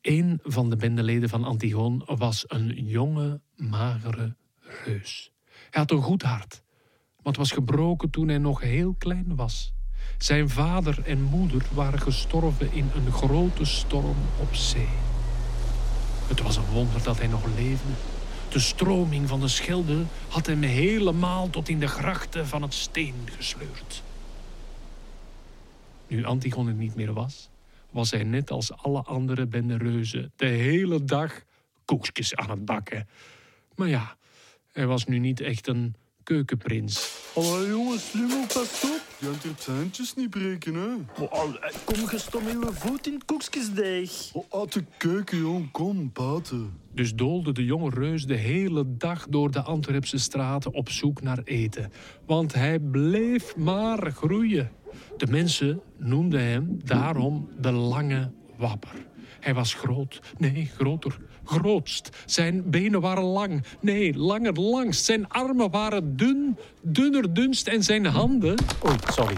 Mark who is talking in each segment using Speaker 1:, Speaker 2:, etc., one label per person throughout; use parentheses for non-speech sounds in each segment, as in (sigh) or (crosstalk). Speaker 1: Een van de bendeleden van Antigoon was een jonge, magere reus. Hij had een goed hart, want was gebroken toen hij nog heel klein was. Zijn vader en moeder waren gestorven in een grote storm op zee. Het was een wonder dat hij nog leefde. De stroming van de schelde had hem helemaal tot in de grachten van het steen gesleurd. Nu Antigon er niet meer was, was hij net als alle andere bendereuzen de hele dag koekjes aan het bakken. Maar ja, hij was nu niet echt een keukenprins.
Speaker 2: Hallo jongens, Lummel, pas op. Je kunt je tuintjes niet breken, hè.
Speaker 3: Maar al, eh, Kom, gestom uw voet in het koekjesdeeg.
Speaker 2: Oh, uit de keuken, jong. Kom, buiten.
Speaker 1: Dus doolde de jonge reus de hele dag door de Antwerpse straten op zoek naar eten. Want hij bleef maar groeien. De mensen noemden hem daarom de Lange Wapper. Hij was groot, nee, groter, grootst. Zijn benen waren lang, nee, langer langst. Zijn armen waren dun, dunner dunst. En zijn handen,
Speaker 4: Oei, sorry.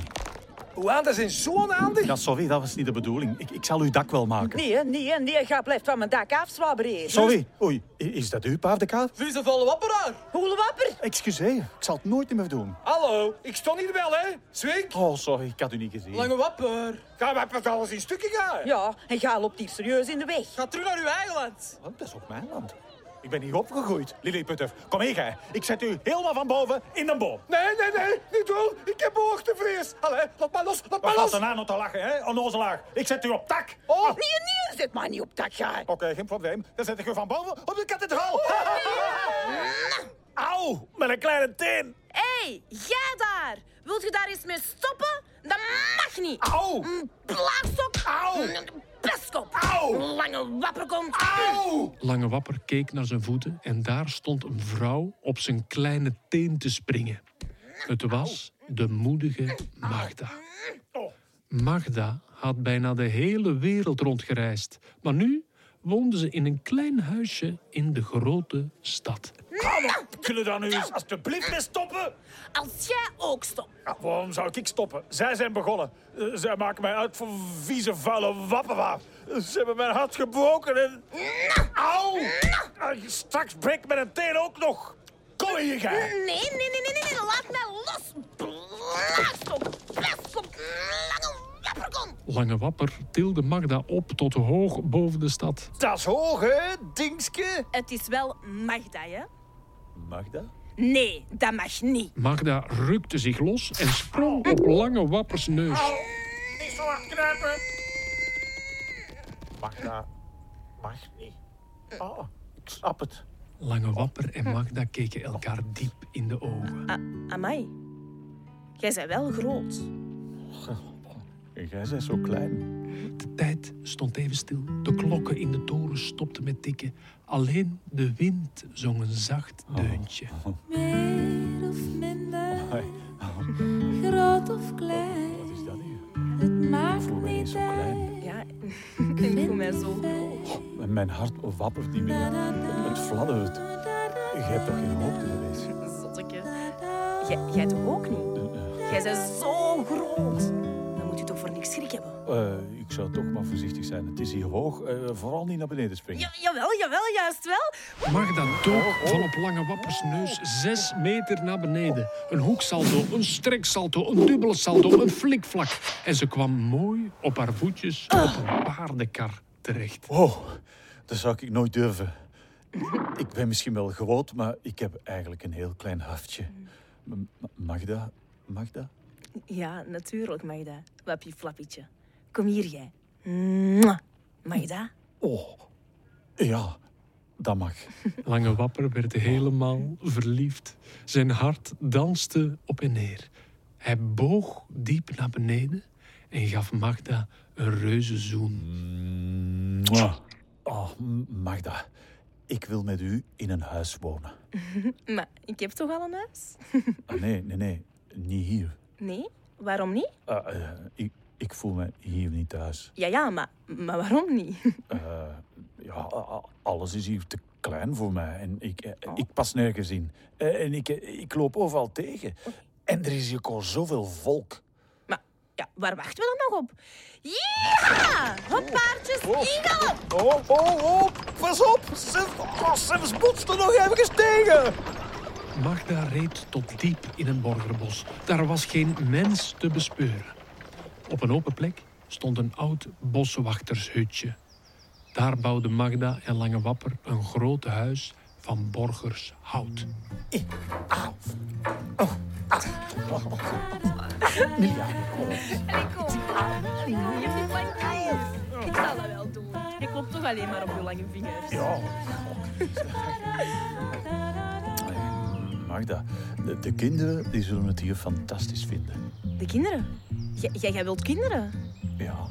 Speaker 5: Wow, dat zijn zo'n handig.
Speaker 4: Ja, sorry, dat was niet de bedoeling. Ik, ik zal uw dak wel maken.
Speaker 6: Nee, dus- hè, nee, hè, nee, ga blijft van mijn dak afzwabberen.
Speaker 4: Sorry. Oei, i- is dat uw paardenkaart?
Speaker 5: Wie is een volle wapperaar?
Speaker 6: Hoelewapper.
Speaker 4: Excuseer, ik zal het nooit meer doen.
Speaker 5: Hallo, ik stond hier wel, hè? Zwink.
Speaker 4: Oh, sorry, ik had u niet gezien.
Speaker 5: Lange wapper. Ga maar pas alles in stukken gaan.
Speaker 6: Ja, en ga loopt hier serieus in de weg.
Speaker 5: Ga terug naar uw eigen land.
Speaker 4: Want Oh, dat is ook mijn land. Ik ben hier opgegroeid, Lilliputter. Kom hier, gij. ik zet u helemaal van boven in de boom.
Speaker 5: Nee, nee, nee, niet doen. Ik heb hoogtevrees. Allee, laat maar los, laat
Speaker 4: Wat
Speaker 5: maar
Speaker 4: gaat
Speaker 5: los.
Speaker 4: er nou nog te lachen, hè? Onnozelaar. Ik zet u op tak. Ah.
Speaker 5: Oh,
Speaker 6: Nee, nee, zet maar niet op dak, ga.
Speaker 4: Oké, geen probleem. Dan zet ik u van boven op de kathedraal.
Speaker 6: Oh,
Speaker 4: (laughs) Auw, met een kleine teen.
Speaker 7: Hé, hey, jij daar! Wilt je daar eens mee stoppen? Dat mag niet!
Speaker 4: Auw,
Speaker 6: Mm.
Speaker 7: Blaakstok!
Speaker 4: Auw.
Speaker 7: Pestkop!
Speaker 4: Auw.
Speaker 7: Lange wapperkont!
Speaker 4: auw.
Speaker 1: Lange Wapper keek naar zijn voeten en daar stond een vrouw op zijn kleine teen te springen. Het was de moedige Magda.
Speaker 4: Oh,
Speaker 1: Magda had bijna de hele wereld rondgereisd, maar nu woonde ze in een klein huisje in de grote stad.
Speaker 4: Kom op, kunnen we daar nu eens alsjeblieft mee stoppen?
Speaker 7: Als jij ook stopt.
Speaker 4: Ja, waarom zou ik stoppen? Zij zijn begonnen. Eh, Zij maken mij uit voor vieze, vuile wappenwaar. Ze hebben mijn hart gebroken en... Auw! Ah, Straks breekt mijn teen ook nog. Kom hier, gij.
Speaker 7: Nee, nee, nee, nee, nee, nee, laat mij los! Blaakstok! Pestkop! Lange wapperkont!
Speaker 1: Lange Wapper tilde Magda op tot hoog boven de stad.
Speaker 4: Dat is hoog, hè, dingske?
Speaker 7: Het is wel Magda, hè?
Speaker 4: Magda?
Speaker 7: Nee, dat mag niet.
Speaker 1: Magda rukte zich los en sprong op Lange Wappers neus.
Speaker 4: Niet zo hard knijpen. Magda mag niet. Ah, ik snap het.
Speaker 1: Lange Wapper en Magda keken elkaar diep in de ogen.
Speaker 7: Amai, jij bent wel groot.
Speaker 4: Jij bent zo klein.
Speaker 1: De tijd stond even stil. De klokken in de toren stopten met tikken. Alleen de wind zong een zacht deuntje.
Speaker 8: Meer of minder, groot of klein,
Speaker 4: Is dat hier?
Speaker 8: het maakt
Speaker 4: mij
Speaker 8: niet
Speaker 4: zo klein.
Speaker 8: uit.
Speaker 7: Ja, (laughs) ik voel mij zo groot.
Speaker 4: Mijn hart wappert niet meer. Het fladdert. Je hebt toch geen hoop geweest?
Speaker 7: Zotteke. Jij, jij toch ook niet? Jij bent zo groot. Dan moet je toch voor niks schrik hebben.
Speaker 4: Eh, ik zou toch maar voorzichtig zijn. Het is hier hoog. Eh, vooral niet naar beneden springen.
Speaker 7: Ja, jawel, jawel, juist wel.
Speaker 1: Magda dook van op lange wappers neus zes meter naar beneden. Een hoeksalto, een streksalto, een dubbele salto, een flikvlak. En ze kwam mooi op haar voetjes op een paardenkar terecht.
Speaker 4: Oh, dat zou ik nooit durven. Ik ben misschien wel groot, maar ik heb eigenlijk een heel klein hartje. M- M- Magda? Magda?
Speaker 7: Ja, natuurlijk, Maida. Wappie flappietje. Kom hier, jij. Mwah. Maida?
Speaker 4: Oh, ja, dat mag.
Speaker 1: Lange Wapper werd helemaal verliefd. Zijn hart danste op en neer. Hij boog diep naar beneden en gaf Magda een reuze zoen.
Speaker 4: Mwah. Oh, M- Magda, ik wil met u in een huis wonen.
Speaker 7: Maar ik heb toch al een huis?
Speaker 4: Ah, nee, nee, nee, niet hier.
Speaker 7: Nee? Waarom niet?
Speaker 4: Ah, eh, ik, ik voel me hier niet thuis.
Speaker 7: Ja, ja, maar, maar waarom niet? (laughs)
Speaker 4: Eh, ja, a- a- alles is hier te klein voor mij. En ik, eh,
Speaker 7: Oh.
Speaker 4: ik pas nergens in. Eh, en ik, eh, ik loop overal tegen. En er is hier al zoveel volk.
Speaker 7: Maar Ja, waar wachten we dan nog op? Ja! Hop, paardjes, in galop!
Speaker 4: Oh, oh, oh, pas op! Ze, oh, ze botste nog ergens tegen!
Speaker 1: Magda reed tot diep in een borgerbos. Daar was geen mens te bespeuren. Op een open plek stond een oud boswachtershutje. Daar bouwden Magda en Lange Wapper een groot huis van borgershout.
Speaker 7: En ik kom. Je hebt niet lang tijd. Ik zal dat wel doen. Je klopt toch alleen maar op je lange vingers.
Speaker 4: Ja. Magda, de, de kinderen die zullen het hier fantastisch vinden.
Speaker 7: De kinderen? Jij- Jij jij wilt kinderen?
Speaker 4: Ja.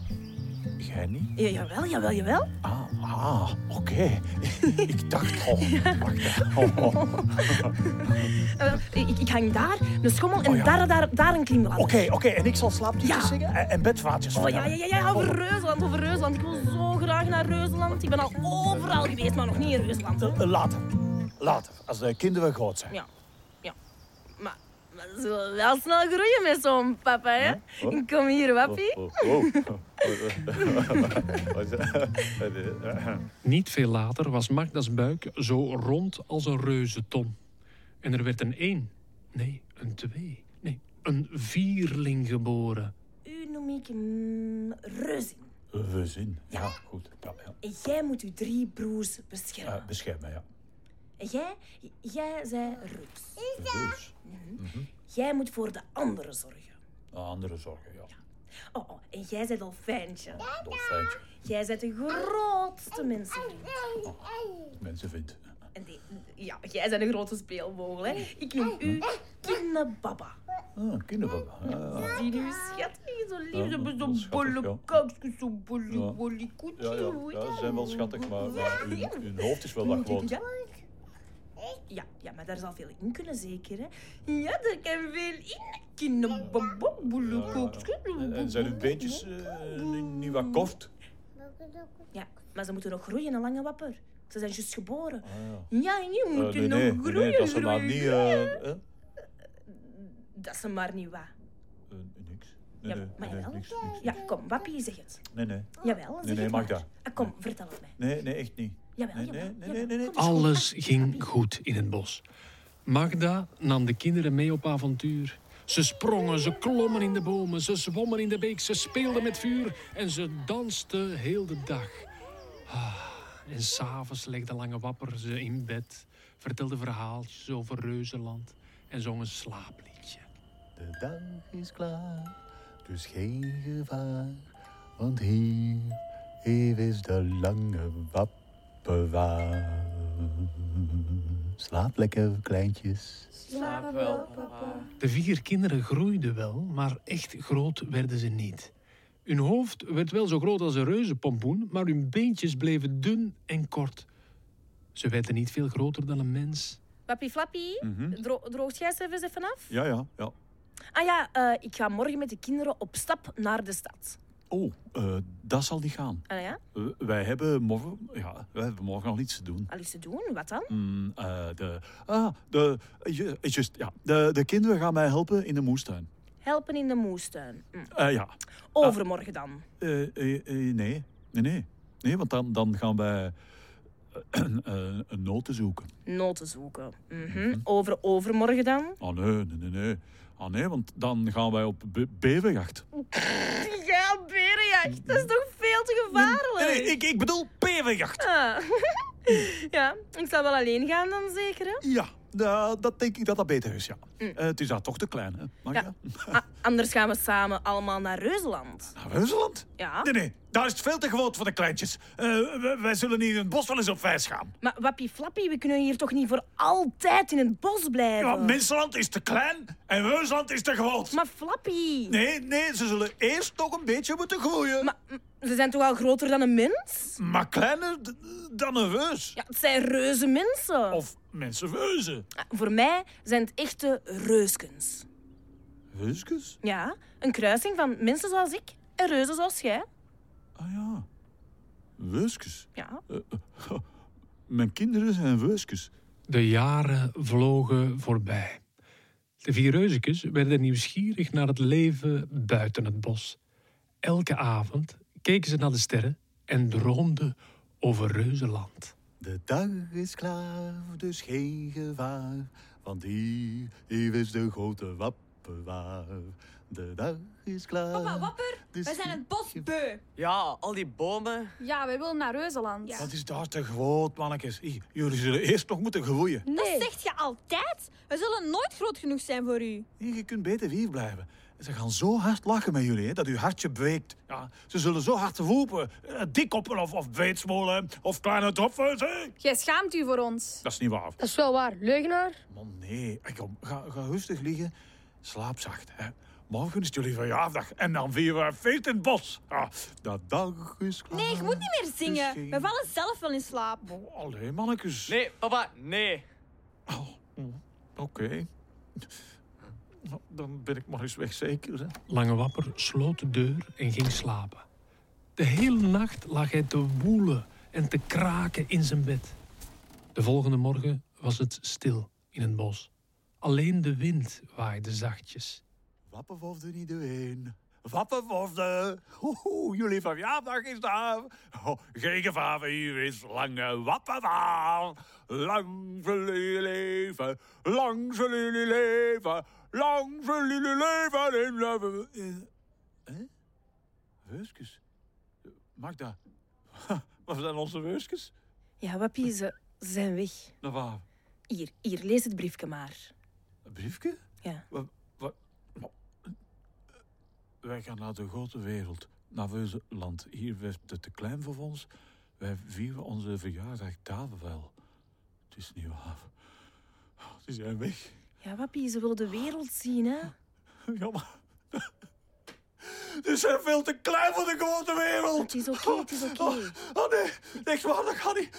Speaker 4: Jij niet?
Speaker 7: Ja, jawel, jawel, jawel.
Speaker 4: Ah, ah oké. (laughs) Ik dacht, oh, Magda. Oh, oh. Oké,
Speaker 7: Eh, ik, ik hang daar een schommel en
Speaker 4: Oh, ja.
Speaker 7: daar, daar, daar een klimladder.
Speaker 4: oké. En ik zal slaapliedjes
Speaker 7: Ja.
Speaker 4: zingen en, en bedvaartjes
Speaker 7: Oh ja, ja,
Speaker 4: vertellen.
Speaker 7: ja, ja, over Reuzeland, over Reuzeland. Ik wil zo graag naar Reuzeland. Ik ben al overal geweest, maar nog niet in Reuzeland.
Speaker 4: Eh, Later. Later, als de kinderen groot zijn.
Speaker 7: Ja, ja. Maar, maar ze zullen wel snel groeien met zo'n papa, hè?
Speaker 4: Oh.
Speaker 7: Kom hier, wappie.
Speaker 4: Oh, oh. (laughs) Wat is dat?
Speaker 1: Niet veel later was Magda's buik zo rond als een reuzenton. En er werd een één, nee, een twee, nee, een vierling geboren.
Speaker 7: U noem ik een reuzin.
Speaker 4: We zien. Ja, goed. Ja, ja.
Speaker 7: En jij moet uw drie broers beschermen.
Speaker 4: Eh, bescherm mij, ja.
Speaker 7: En jij, jij zij Ruud.
Speaker 4: Dus,
Speaker 7: Jij moet voor de anderen zorgen.
Speaker 4: andere zorgen, ja.
Speaker 7: Oh, oh en jij bent dolfijntje.
Speaker 4: Dolfijntje,
Speaker 7: Jij bent de grootste mensen.
Speaker 4: mensen vindt.
Speaker 7: En die, ja, jij bent een grote speelvogel, hè. Ik noem u Kinnebaba.
Speaker 4: Ah, kinderbaba. Ah,
Speaker 7: Zie je, schat, je zo lief,
Speaker 4: Ja,
Speaker 7: ze hebben
Speaker 4: dat is
Speaker 7: zo'n bolle
Speaker 4: schattig,
Speaker 7: kakske, zo'n bolle,
Speaker 4: Ja.
Speaker 7: bolle
Speaker 4: ja, ja, ja, ze zijn wel schattig, maar, maar hun, hun hoofd is wel wat groot.
Speaker 7: Ja. Eh, Ja, ja, maar daar zal veel in kunnen, zeker, hè. Ja, daar kan veel in. Kinnebaba, bolle kakske,
Speaker 4: En, en zijn hun beentjes eh, niet, niet wat kort?
Speaker 7: Ja, maar ze moeten nog groeien, een lange wapper. Ze zijn juist geboren.
Speaker 4: Ah, ja.
Speaker 7: Ja, en die
Speaker 4: Eh,
Speaker 7: moeten
Speaker 4: nee, nee,
Speaker 7: nog
Speaker 4: nee,
Speaker 7: groeien,
Speaker 4: nee, dat ze maar
Speaker 7: groeien,
Speaker 4: niet...
Speaker 7: groeien.
Speaker 4: eh, eh,
Speaker 7: Dat ze maar niet wat.
Speaker 4: eh, niks. Nee,
Speaker 7: Ja,
Speaker 4: nee,
Speaker 7: maar
Speaker 4: nee,
Speaker 7: jawel.
Speaker 4: niks, niks.
Speaker 7: Ja, kom, wappie, zeg het.
Speaker 4: Nee, nee.
Speaker 7: Jawel, zeg
Speaker 4: nee,
Speaker 7: het
Speaker 4: Magda.
Speaker 7: maar. Ah, kom, vertel het mij.
Speaker 4: Nee, nee, echt niet.
Speaker 7: Jawel,
Speaker 4: Nee,
Speaker 7: jawel.
Speaker 4: nee, nee,
Speaker 7: jawel.
Speaker 4: nee, nee, nee.
Speaker 7: Kom eens,
Speaker 1: Alles
Speaker 7: kom,
Speaker 1: ging
Speaker 7: wappie.
Speaker 1: goed in het bos. Magda nam de kinderen mee op avontuur. Ze sprongen, ze klommen in de bomen, ze zwommen in de beek, ze speelden met vuur en ze dansten heel de dag. Ah, en s'avonds legde Lange Wapper ze in bed, vertelde verhaaltjes over Reuzenland en zong een slaapliedje.
Speaker 2: De dag is klaar, dus geen gevaar. Want hier, hier is de lange wapperwaar. Slaap lekker, kleintjes.
Speaker 9: Slaap wel, papa.
Speaker 1: De vier kinderen groeiden wel, maar echt groot werden ze niet. Hun hoofd werd wel zo groot als een reuzenpompoen, maar hun beentjes bleven dun en kort. Ze werden niet veel groter dan een mens.
Speaker 7: Wappie Flappie, dro- droogt jij ze even even af?
Speaker 4: Mhm. Ja, ja, ja.
Speaker 7: Ah ja, eh, ik ga morgen met de kinderen op stap naar de stad.
Speaker 4: Oh, eh, dat zal niet gaan.
Speaker 7: Ah ja,
Speaker 4: Eh, wij, hebben morgen, ja, wij hebben morgen al iets te doen.
Speaker 7: al iets te doen, wat dan?
Speaker 4: Mm, eh, de, ah, de, ju- eh, just, ja, de, de kinderen gaan mij helpen in de moestuin.
Speaker 7: Helpen in de moestuin. Hm.
Speaker 4: Eh, ja.
Speaker 7: Overmorgen dan.
Speaker 4: Eh, eh, eh, nee. nee, nee. Nee, want dan, dan gaan wij eh, (clears throat) een noten zoeken.
Speaker 7: Noten zoeken. Mhm. Over overmorgen dan.
Speaker 4: Ah nee, nee, nee, nee. Ah nee, want dan gaan wij op be beverjacht.
Speaker 7: Ja, berenjacht. Dat is toch veel te gevaarlijk?
Speaker 4: Nee, ik, ik bedoel beverjacht.
Speaker 7: Ah. (laughs) ja, ik zal wel alleen gaan dan zeker, hè?
Speaker 4: Ja, da- dat denk ik dat dat beter is, ja. Eh, het is daar toch te klein, hè? Maar ja.
Speaker 7: Mm. Ja. Ah, anders gaan we samen allemaal naar Reuzeland.
Speaker 4: (laughs) Naar Reuzeland?
Speaker 7: Ja.
Speaker 4: Nee, nee, daar is het veel te groot voor de kleintjes. Eh, wij, wij zullen hier in het bos wel eens op wijs gaan.
Speaker 7: Maar wappie flappie, we kunnen hier toch niet voor altijd in het bos blijven?
Speaker 4: Ja, Mensenland is te klein en Reuzeland is te groot.
Speaker 7: Maar flappie,
Speaker 4: Nee, nee, ze zullen eerst nog een beetje moeten groeien. Maar,
Speaker 7: hm, ze zijn toch al groter dan een mens?
Speaker 4: kleiner d- dan een reus.
Speaker 7: Ja, het zijn reuze mensen.
Speaker 4: Of mensenreuzen.
Speaker 7: Ah, Voor mij zijn het echte reuskens.
Speaker 4: Reusjes?
Speaker 7: Ja, een kruising van mensen zoals ik en reuzen zoals jij.
Speaker 4: Ah ja, reusjes.
Speaker 7: Ja,
Speaker 4: Mijn kinderen zijn reusjes.
Speaker 1: De jaren vlogen voorbij. De vier reuzekes werden nieuwsgierig naar het leven buiten het bos. Elke avond keken ze naar de sterren en droomden over reuzenland.
Speaker 2: De dag is klaar, dus geen gevaar, want hier, hier is de grote wapperwaar. De dag is klaar.
Speaker 10: Papa, wapper,
Speaker 2: dus
Speaker 10: wij zijn
Speaker 2: geen
Speaker 10: het bos
Speaker 2: gevaar.
Speaker 10: beu.
Speaker 9: Ja, al die bomen.
Speaker 10: Ja, wij willen naar Reuzenland.
Speaker 4: Dat is daar te groot, mannetjes. Ih, Jullie zullen eerst nog moeten groeien.
Speaker 10: Dat zegt je altijd. We zullen nooit groot genoeg zijn voor u.
Speaker 4: Hier, je kunt beter hier blijven. Ze gaan zo hard lachen met jullie, hè, dat uw hartje breekt. Ja, ze zullen zo hard roepen. Eh, Dikkoppen of, of breedsmolen of kleine topfers. hè.
Speaker 11: Jij schaamt u voor ons.
Speaker 4: Dat is niet waar.
Speaker 12: Dat is wel waar, leugenaar.
Speaker 4: Man, nee. Hey, Kom, ga, ga rustig liggen. Slaap zacht. Hè. Morgen is het jullie verjaardag en dan vieren we een feest in het bos. Ja, dat dag is klaar.
Speaker 10: Nee, je moet niet meer zingen.
Speaker 4: geen-
Speaker 10: We vallen zelf wel in slaap.
Speaker 4: Allee, mannetjes.
Speaker 9: Nee, papa, nee.
Speaker 4: Oké. Nou, Dan ben ik maar eens weg, zeker. Hè.
Speaker 1: Lange Wapper sloot de deur en ging slapen. De hele nacht lag hij te woelen en te kraken in zijn bed. De volgende morgen was het stil in het bos. Alleen de wind waaide zachtjes.
Speaker 4: Wappenwofde niet doorheen. Wappenwofde. Hoehoe, jullie verjaardag is daar. Oh, geen gevaar, hier is lange wappenwaar. Lang zullen jullie leven, lang zullen jullie leven, lang zullen jullie leven in leven. Eh, hè? Weuskes? Magda, (laughs) wat zijn onze weuskes?
Speaker 11: Ja, wappie, ze zijn weg.
Speaker 4: Nou, waar?
Speaker 11: Hier, hier, lees het briefje maar.
Speaker 4: Een briefje?
Speaker 11: Ja.
Speaker 4: Wat, wat, maar- wij gaan naar de grote wereld, naar Weuzeland. Hier werd het te klein voor ons. Wij vieren onze verjaardag daar wel. Het is niet waar. Oh, Ze zijn weg. (laughs)
Speaker 11: Ja, wappie, ze wil de wereld zien, hè.
Speaker 4: Jammer. Ze zijn veel te klein voor de grote wereld.
Speaker 11: Het is oké, het is oké.
Speaker 4: Oh nee, niks waar, dat gaat niet.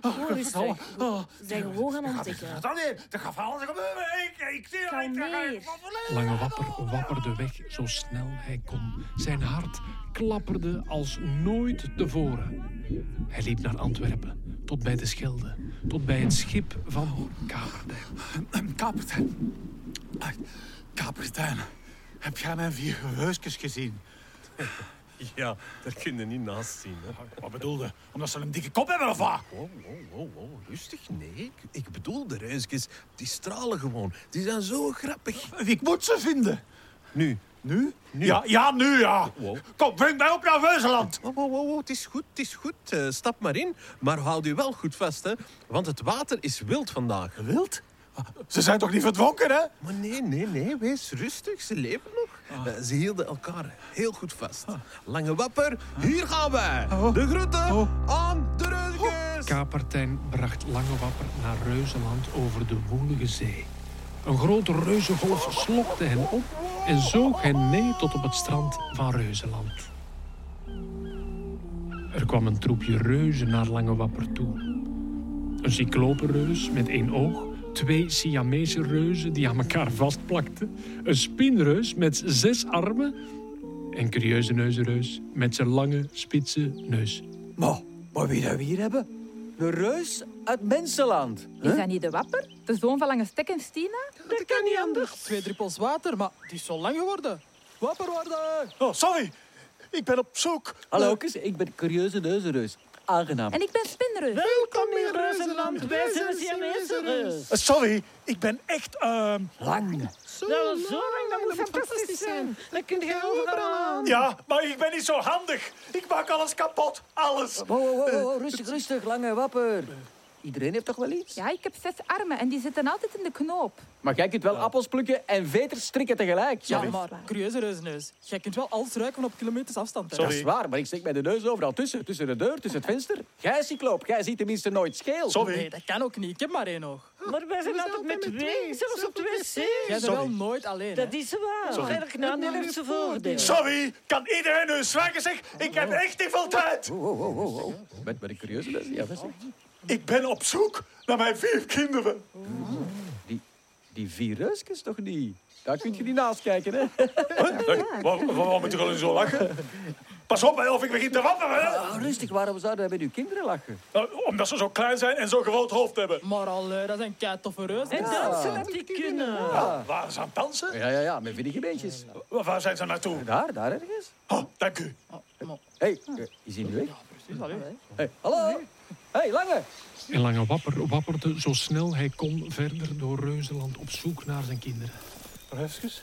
Speaker 4: Oh,
Speaker 11: Gewoon rustig. We zijn gewoon gaan ontdekken.
Speaker 4: Dat niet, dat gaat van alles gebeuren. Ik, ik zie het. Ik,
Speaker 11: Kalmeer.
Speaker 1: Lange Wapper wapperde weg zo snel hij kon. Zijn hart klapperde als nooit tevoren. Hij liep naar Antwerpen, tot bij de Schelde, tot bij het schip van Kaperdijk.
Speaker 4: Kapitein. Ah, Kapitein, heb jij mijn vier geweusjes gezien?
Speaker 13: Ja, daar kun je niet naast zien. Hè.
Speaker 4: Wat bedoelde? Omdat ze een dikke kop hebben of wat?
Speaker 13: Oh, oh, oh, oh, rustig. Nee, ik, ik bedoel de reusjes. Die stralen gewoon. Die zijn zo grappig.
Speaker 4: Ik moet ze vinden.
Speaker 13: Nu.
Speaker 4: Nu?
Speaker 13: Nu.
Speaker 4: Ja, ja, nu ja.
Speaker 13: Wow.
Speaker 4: Kom, breng mij op naar Weuzeland.
Speaker 13: Oh, oh, oh, oh, het is goed, het is goed. Eh, stap maar in. Maar houd u wel goed vast, hè. Want het water is wild vandaag.
Speaker 4: Wild? Ze zijn toch niet verdronken, hè?
Speaker 13: Maar nee, nee, nee. Wees rustig. Ze leven nog.
Speaker 5: Ah.
Speaker 13: Eh, ze hielden elkaar heel goed vast. Lange wapper, hier gaan wij.
Speaker 5: Oh.
Speaker 13: De groeten aan de reusjes.
Speaker 1: Kapertijn bracht Lange Wapper naar Reuzenland over de woelige zee. Een grote reuzengolf slokte hen op en zoog hen mee tot op het strand van Reuzenland. Er kwam een troepje reuzen naar Lange Wapper toe. Een cyclopenreus met één oog, twee Siamese reuzen die aan elkaar vastplakten, een spinreus met zes armen en curieuze neuzenreus met zijn lange, spitse neus.
Speaker 14: Maar, maar wie dat we hier hebben?
Speaker 9: De reus uit Mensenland.
Speaker 15: Is dat niet de wapper? De zoon van Lange Stek en Stina?
Speaker 9: Dat kan niet anders.
Speaker 14: Twee druppels water, maar het is zo lang geworden. Wapper worden!
Speaker 4: Oh, sorry. Ik ben op zoek.
Speaker 5: Hallo, ik ben Curieuze Neuzenreus. Aangenaam.
Speaker 15: En ik ben Spinreus.
Speaker 14: Welkom in Reuzenland, wij zijn Siamesereus.
Speaker 4: Eh, Sorry, ik ben echt... ehm,
Speaker 5: Lang.
Speaker 14: Zo lang, dat moet fantastisch zijn. Dan kun je overal aan.
Speaker 4: Ja, maar ik ben niet zo handig. Ik maak alles kapot. Alles.
Speaker 5: Wow, wow, wow, wow, rustig, rustig, lange wapper. Iedereen heeft toch wel iets?
Speaker 15: Ja, ik heb zes armen en die zitten altijd in de knoop.
Speaker 5: Maar jij kunt wel appels plukken en veters strikken tegelijk.
Speaker 16: Ja, maar curieuze reuzenneus. Jij kunt wel alles ruiken van op kilometers afstand. Hè?
Speaker 5: Dat is waar, maar ik steek mijn neus overal tussen. Tussen de deur, tussen het venster. Jij, cycloop, jij ziet tenminste nooit scheel.
Speaker 16: Nee, dat kan ook niet. Ik heb maar één oog.
Speaker 5: Maar wij zijn altijd met twee.
Speaker 16: Zelfs op de wc. Jij bent
Speaker 4: Sorry.
Speaker 16: wel nooit alleen.
Speaker 12: Dat
Speaker 16: hè?
Speaker 12: is waar.
Speaker 16: Sorry.
Speaker 12: Elk nadeel heeft zijn voordeel.
Speaker 4: Sorry, kan iedereen hun zwijgen, zeg? Ik heb echt niet veel tijd.
Speaker 5: Wow, wow, wow, wow. Ben, ben ik curieus? Ja, best.
Speaker 4: Ik ben op zoek naar mijn vier kinderen.
Speaker 5: Die vier reusjes toch niet? Daar kun je niet naast kijken, hè?
Speaker 4: Waarom moet je al zo lachen?
Speaker 17: Pas op, hè, of ik begin te wappen. hè.
Speaker 5: Ah, rustig, waarom zouden wij met uw kinderen lachen?
Speaker 17: Nou, Omdat ze zo klein zijn en zo'n groot hoofd hebben.
Speaker 16: Maar allee, dat is een kei toffe reus.
Speaker 17: En dansen dat die
Speaker 16: kunnen.
Speaker 17: Ja, Waar ze aan het dansen?
Speaker 5: Ja, ja, ja, met vinnige beentjes.
Speaker 17: Wa- Waar zijn ze naartoe?
Speaker 5: Daar, daar ergens.
Speaker 17: Oh, dank u.
Speaker 5: Hé, hey, eh, is hij nu weg? Hey, hallo? Hé, hey, Lange.
Speaker 1: En Lange Wapper wapperde zo snel hij kon verder door Reuzeland op zoek naar zijn kinderen.
Speaker 18: Ruifjes,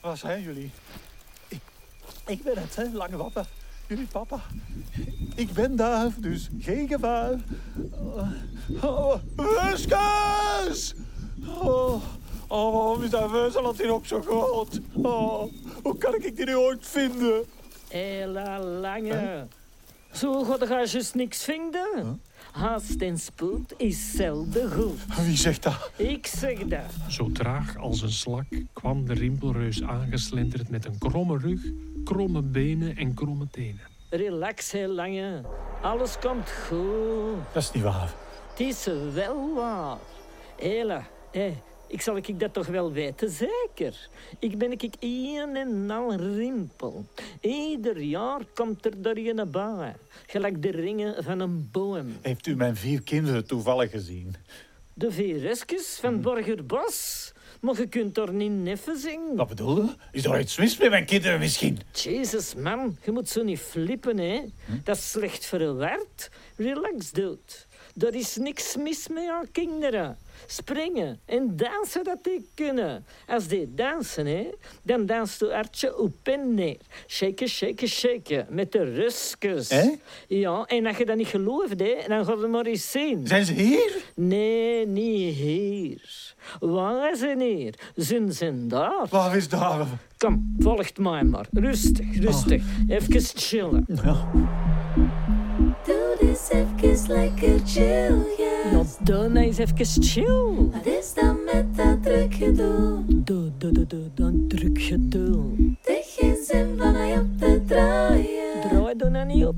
Speaker 18: waar zijn jullie? Ik, ik ben het, hè, lange wapper. Jullie papa. Ik ben daar, dus geen gevaar. Oh, oh, Ruifjes!
Speaker 17: Oh, oh, waarom is dat Weuzeland hier ook zo groot? Oh, hoe kan ik die nu ooit vinden?
Speaker 3: Hela lange. Zo gaat je juist niks vinden. Haast en spoed is zelden goed.
Speaker 1: Wie zegt dat?
Speaker 3: Ik zeg dat.
Speaker 1: Zo traag als een slak kwam de rimpelreus aangeslenterd met een kromme rug, kromme benen en kromme tenen.
Speaker 3: Relax, heel lange. Alles komt goed.
Speaker 18: Dat is niet waar.
Speaker 3: Het is wel waar. Hela, hé, ik zal ik dat toch wel weten, zeker. Ik ben ik een en al rimpel. Ieder jaar komt er door je naar bij. Gelijk de ringen van een boom.
Speaker 18: Heeft u mijn vier kinderen toevallig gezien?
Speaker 3: De VRS'kes van Borgerbos. Maar je kunt er niet neffen zingen.
Speaker 17: Wat bedoel je? Is er iets mis met mijn kinderen misschien?
Speaker 3: Jezus, man, je moet zo niet flippen, hè. Dat is slecht voor een werd. Relax, dude. Er is niks mis met jouw kinderen. Springen en dansen dat die kunnen. Als die dansen, hè, dan danst je hartje op en neer. Shaken, shaken, shaken. Met de ruskus.
Speaker 17: Hè?
Speaker 3: Ja, en als je dat niet gelooft, hè, dan gaat het maar eens zien.
Speaker 17: Zijn ze hier?
Speaker 3: Nee, niet hier. Waar zijn hier? Zijn ze daar?
Speaker 17: Waar is daar?
Speaker 3: Kom, volgt mij maar. Rustig, rustig. Even chillen.
Speaker 8: Doe dus even lekker chill, ja.
Speaker 3: Ja, doe nou eens even chill.
Speaker 8: Wat is dan met dat druk gedoe?
Speaker 3: Doe, doe, doe, doe, dan druk je doel.
Speaker 8: De geen zin van mij op te draaien.
Speaker 3: Draai dan nou niet op.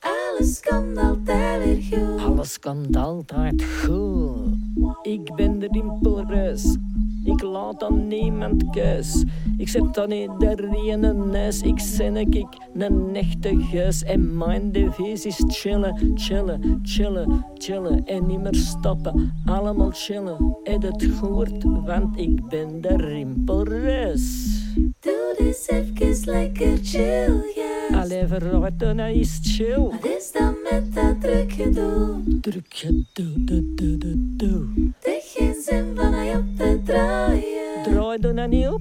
Speaker 8: Alles komt altijd weer goed.
Speaker 3: Alles komt altijd goed. Ik ben de rimpelreus. Ik laat aan niemand keus. Ik zet aan iedereen een neus. Ik zin ik een echte geus. En mijn devies is chillen, chillen, chillen, chillen. En niet meer stoppen. Allemaal chillen. En het gehoord, want ik ben de rimpelreus.
Speaker 8: Doe dus even lekker chill, ja.
Speaker 3: Allee, verraad dan nou eens chill.
Speaker 8: Wat is dan met dat druk gedoe?
Speaker 3: Druk je doe, doe, doe, doe, doe.
Speaker 8: De geen zin van mij op te draaien.
Speaker 3: Draai dan nou niet op.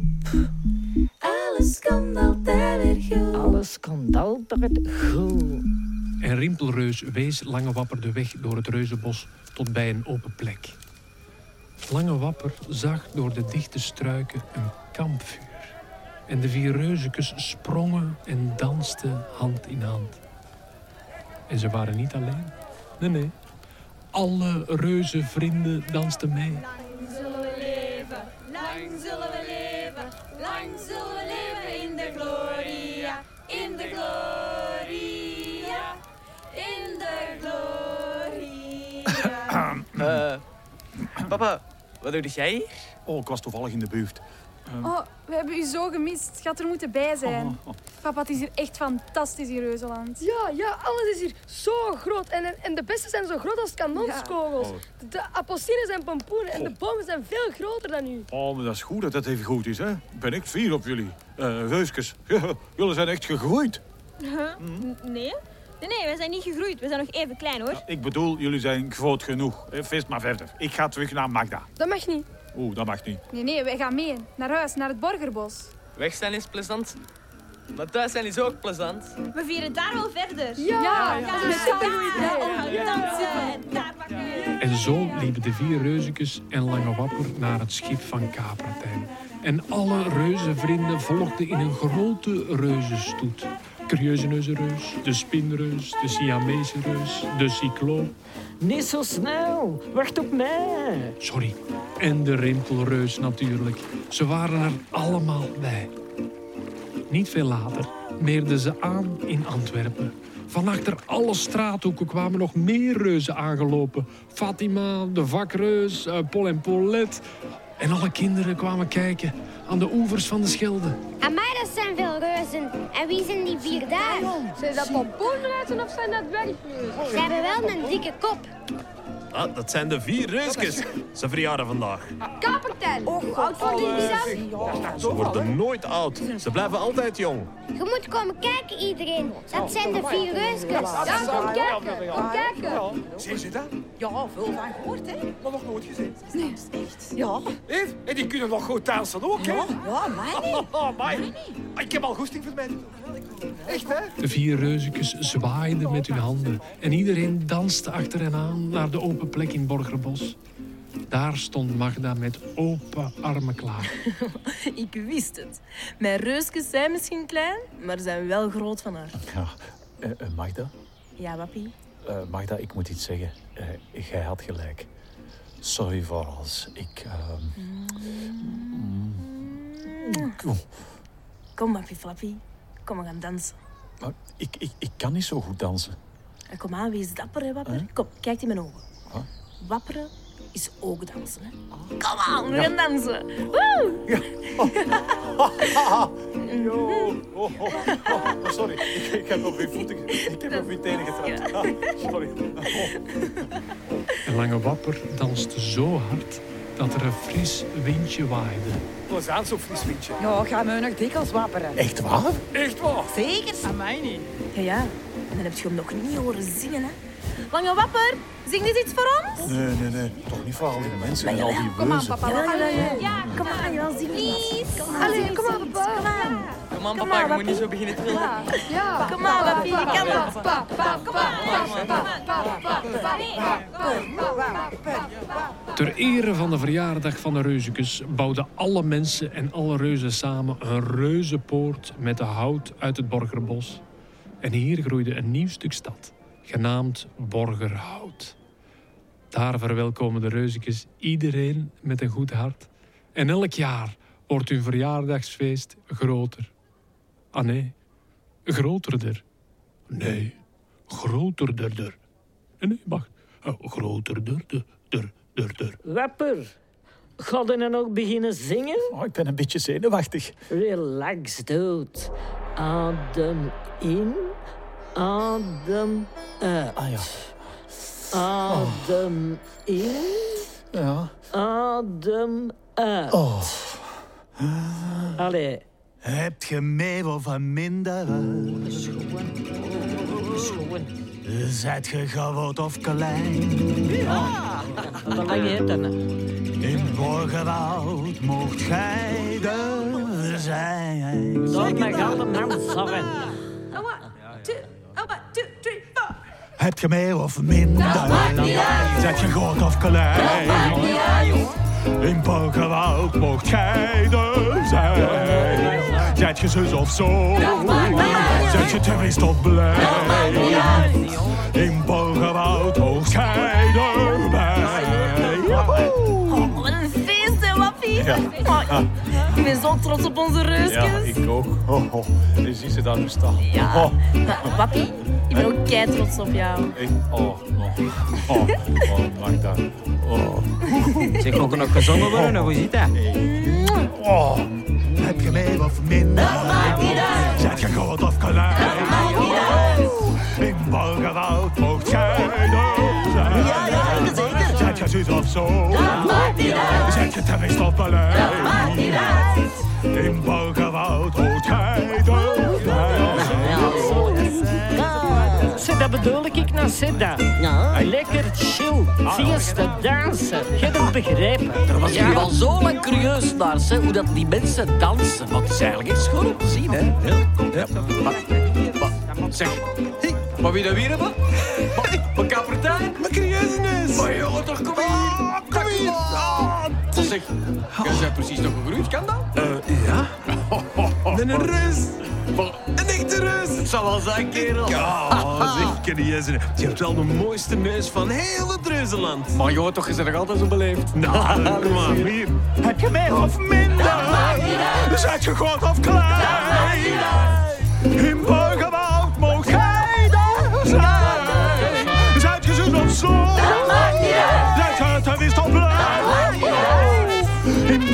Speaker 8: Alles komt altijd weer goed.
Speaker 3: Alles komt altijd goed.
Speaker 1: En Rimpelreus wees Lange Wapper de weg door het reuzenbos tot bij een open plek. Lange Wapper zag door de dichte struiken een kampvuur. En de vier reuzekes sprongen en dansten hand in hand. En ze waren niet alleen. Nee, nee. Alle reuzenvrienden dansten mee.
Speaker 11: Lang zullen we leven, lang zullen we leven, lang zullen we leven in de gloria, in de gloria, in de gloria.
Speaker 9: Eh, papa, wat doe jij hier?
Speaker 2: Oh, ik was toevallig in de buurt.
Speaker 11: Oh, we hebben u zo gemist. Je had er moeten bij zijn. Papa, het is hier echt fantastisch in Reuzeland.
Speaker 12: Ja, ja, alles is hier zo groot. En, en, en de bessen zijn zo groot als kanonskogels.
Speaker 2: Ja.
Speaker 12: De, de appelsines zijn pompoenen en de bomen zijn veel groter dan u.
Speaker 2: Oh, maar dat is goed dat dat even goed is, hè? Ben ik fier op jullie. Eh reusjes, (laughs) jullie zijn echt gegroeid.
Speaker 11: Huh?
Speaker 10: Nee? Nee, nee, wij zijn niet gegroeid. We zijn nog even klein hoor.
Speaker 2: Ik bedoel, jullie zijn groot genoeg. Eh, Feest maar verder. Ik ga terug naar Magda.
Speaker 12: Dat mag niet.
Speaker 2: Oeh, dat mag niet.
Speaker 11: Nee, nee, wij gaan mee. Naar huis, naar het Borgerbos.
Speaker 9: Weg zijn is plezant, maar thuis zijn is ook plezant.
Speaker 10: We vieren daar wel verder.
Speaker 12: Ja, ja, ja.
Speaker 10: daar,
Speaker 12: dat is een supergoed idee.
Speaker 10: daar,
Speaker 12: Ja.
Speaker 10: dansen, daar pakken we.
Speaker 1: En zo liepen de vier reuzekes en Lange Wapper naar het schip van Kapertijn. En alle reuzenvrienden volgden in een grote reuzenstoet. Curieuzeneuze reus, de spinreus, de Siamese reus, de cycloop.
Speaker 3: Niet zo snel. Wacht op mij.
Speaker 1: Sorry. En de rimpelreus natuurlijk. Ze waren er allemaal bij. Niet veel later meerden ze aan in Antwerpen. Van achter alle straathoeken kwamen nog meer reuzen aangelopen. Fatima, de vakreus, eh, Pol en Polet. En alle kinderen kwamen kijken aan de oevers van de Schelde.
Speaker 19: Amai, dat zijn veel reuzen. En wie zijn die vier daar?
Speaker 20: Zijn dat pompoenreuzen of zijn dat dwergmuizen?
Speaker 19: Ze hebben wel een dikke kop.
Speaker 13: Ah, dat zijn de vier reusjes. Ze verjaren vandaag.
Speaker 20: Kapitein,
Speaker 19: Oh,
Speaker 11: Oh,
Speaker 20: hoe oud worden die dan?
Speaker 13: Ze worden nooit oud. Ze blijven altijd jong.
Speaker 19: Je moet komen kijken, iedereen. Dat zijn de vier reusjes.
Speaker 20: Ja, kom kijken, kom kijken.
Speaker 4: Zie je dat?
Speaker 6: Ja, veel van gehoord, hè?
Speaker 4: Maar nog nooit gezien.
Speaker 6: Nee, echt. Ja.
Speaker 4: Hé, en die kunnen nog goed dansen ook, hè?
Speaker 6: Ja, ja, mij niet.
Speaker 4: Oh, mij. Ik heb al goesting voor mij. Echt, hè?
Speaker 1: De vier reuzekes zwaaiden met hun handen en iedereen danste achter hen aan naar de open plek in Borgerbos. Daar stond Magda met open armen klaar.
Speaker 7: Ik wist het. Mijn reusjes zijn misschien klein, maar zijn wel groot van hart.
Speaker 18: Ja, eh, eh, Magda?
Speaker 7: Ja, wappie.
Speaker 18: Eh, Magda, ik moet iets zeggen. Eh, jij had gelijk. Sorry voor alles. Ik... ehm, mm, oh,
Speaker 7: Kom, wappie flappie. Kom, we gaan dansen.
Speaker 18: maar ik, ik, ik kan niet zo goed dansen.
Speaker 7: En kom aan, wees dapper, hè, wapper. Kom, kijk in mijn ogen. Wapperen is ook dansen, hè.
Speaker 18: Ah.
Speaker 7: Kom aan, we gaan dansen. Woe!
Speaker 4: Yo. Oh, oh, oh, Sorry, ik, ik heb op mijn voeten... Ik heb op mijn tenen getrapt. Ah, sorry.
Speaker 1: En Lange Wapper danste zo hard dat er een fris windje waaide.
Speaker 4: Was aan zo'n fris windje.
Speaker 6: Ja, gaan we nog dikwijls wapperen.
Speaker 1: Echt waar?
Speaker 4: Echt waar?
Speaker 6: Zeker.
Speaker 16: Aan mij niet.
Speaker 7: Ja, ja. En dan heb je hem nog niet horen zingen, hè. Lange wapper, zing dit iets voor ons?
Speaker 4: Nee, nee, nee. Toch niet voor al die mensen en al die
Speaker 7: Kom aan,
Speaker 4: weuzen.
Speaker 7: papa. Ja, ja, ja. Kom aan, ja, zing Allee, kom aan, papa. Kom aan.
Speaker 9: Kom aan, papa, je moet niet zo beginnen te trillen.
Speaker 20: Ja,
Speaker 7: Kom aan, papi, je kan dat.
Speaker 20: pa, pa, pa, pa, pa, pa, pa, pa,
Speaker 1: Ter ere van de verjaardag van de reuzekes bouwden alle mensen en alle reuzen samen een reuzenpoort met de hout uit het Borgerbos. En hier groeide een nieuw stuk stad, genaamd Borgerhout. Daar verwelkomen de reuzekes iedereen met een goed hart. En elk jaar wordt hun verjaardagsfeest groter. Ah nee, groterder. Nee, groterderder. Eh, Nee, wacht. Eh, Groterderder. der, der, der.
Speaker 3: Wapper, ga je nou nog beginnen zingen?
Speaker 18: Oh, ik ben een beetje zenuwachtig.
Speaker 3: Relax, dude. Adem in, adem uit.
Speaker 18: Ah ja.
Speaker 3: Adem in,
Speaker 18: Ja.
Speaker 3: adem uit.
Speaker 18: Oh.
Speaker 3: Allee,
Speaker 2: Heb je mee wel van minder? Zijt je groot of klein?
Speaker 3: wat lang nou? je dan?
Speaker 2: In Borgerwoud mocht gij er zijn.
Speaker 3: Laat mij gaan de man zakken.
Speaker 10: oh,
Speaker 2: Heb je meer of minder? Zet je groot of klein? In Borgerwoud mocht gij er zijn. Zet je zus of zo? Zet je terrorist of blij? In Borgerwoud mocht gij erbij.
Speaker 7: Oh, wat een feest, hè, wappie.
Speaker 4: Ja.
Speaker 7: Oh, ik ben zo trots op onze
Speaker 4: Ja,
Speaker 7: reusjes.
Speaker 4: ik ook. Oh, oh. Je ziet ze daar nu staan.
Speaker 7: Ja.
Speaker 4: Oh,
Speaker 7: Nou, Wappie, ik ben ook kei trots op jou.
Speaker 4: ik, oh, oh, oh, oh, Magda. Oh,
Speaker 9: Zeg, ook nog gezongen worden, hoe zit dat?
Speaker 2: Oh, heb je meer of minder? Zet je groot of klein? In Borgerwoud mocht jij er zijn. Zet je zus of zo? Zet je terrorist of beleid? In Borgerwoud mocht jij er
Speaker 14: Zet, dat bedoel ik nou, zet dat. Lekker chill, feesten, dansen. Je hebt het begrepen.
Speaker 21: Er was hier al zo lang curieus naar, hè, hoe dat die mensen dansen. Want het is eigenlijk echt schoon om te zien, hè. Ja. Maar- maar- Zeg, hey, maar wie dat weer hebben? Maar- Mijn kapitein?
Speaker 13: Mijn curieuze neus.
Speaker 21: Maar jongen, toch, kom hier.
Speaker 13: Kom hier. Ah,
Speaker 21: Maar Zeg, jij bent precies nog gegroeid, kan dat?
Speaker 13: eh, ja?
Speaker 5: (laughs)
Speaker 13: Met een reus. Een echte reus.
Speaker 21: Het zal wel zijn, kerel.
Speaker 13: Ja, (laughs) zeg, curieuze neus. Je hebt wel de mooiste neus van heel het reuzenland.
Speaker 21: Maar jongen, toch is er nog altijd zo beleefd.
Speaker 13: Nou, maar hier.
Speaker 2: Heb je meer of minder? Zet je groot of klein? In Borgerwoud mocht jij er zijn. Zet je zus of zo? Zet je terrorist of blij? In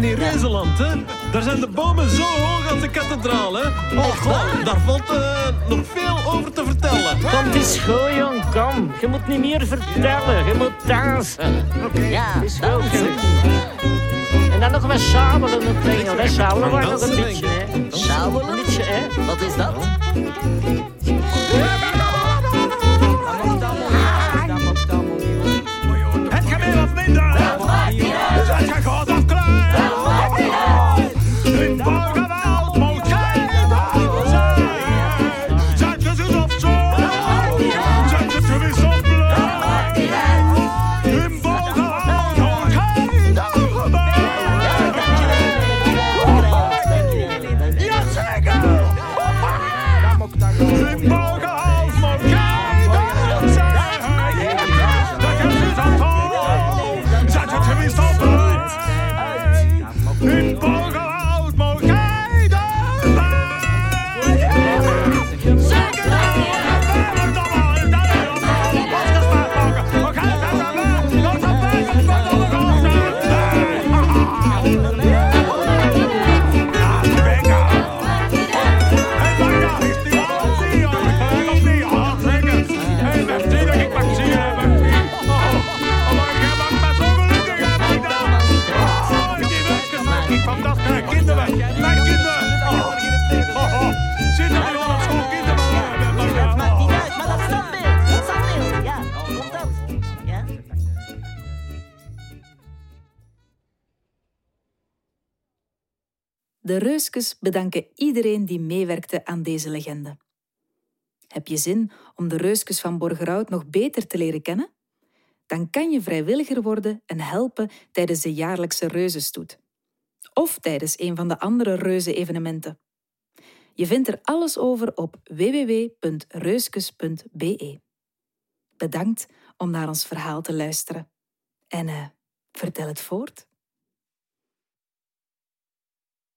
Speaker 22: in Rezeland, hè. Daar zijn de bomen zo hoog als de kathedraal, hè. Oh, god, daar valt eh, nog veel over te vertellen.
Speaker 3: Kom, het is goed, jong, kom. Je moet niet meer vertellen, je moet dansen. Ja, het is goed. En dan nog wat sjouwelen op tegen, hè. Sjouwelen wordt nog een beetje, hè. Sjouwelen? Een beetje, hè. Wat is dat?
Speaker 4: Het gaat meer of minder. Dat maakt niet uit. Het gaat groot of klein. Dat maakt niet uit. In Borgerwoud moet jij daar zijn. Zijn ze zus of zo? Dat maakt niet uit. Zijn ze gewis of blij? Dat maakt niet uit. In Borgerwoud moet jij daar zijn. Jazeker. In Borgerwoud moet jij daar zijn. Dat gaat zus of zo. Zijn ze gewis of blij? In Borgerwoud moet jij daar zijn. Zeker. Oh,
Speaker 7: De Reuskes bedanken iedereen die meewerkte aan deze legende. Heb je zin om de Reuskes van Borgerhout nog beter te leren kennen? Dan kan je vrijwilliger worden en helpen tijdens de jaarlijkse reuzenstoet. Of tijdens een van de andere reuzenevenementen. Je vindt er alles over op www.reuskes.be. Bedankt om naar ons verhaal te luisteren. En eh, vertel het voort.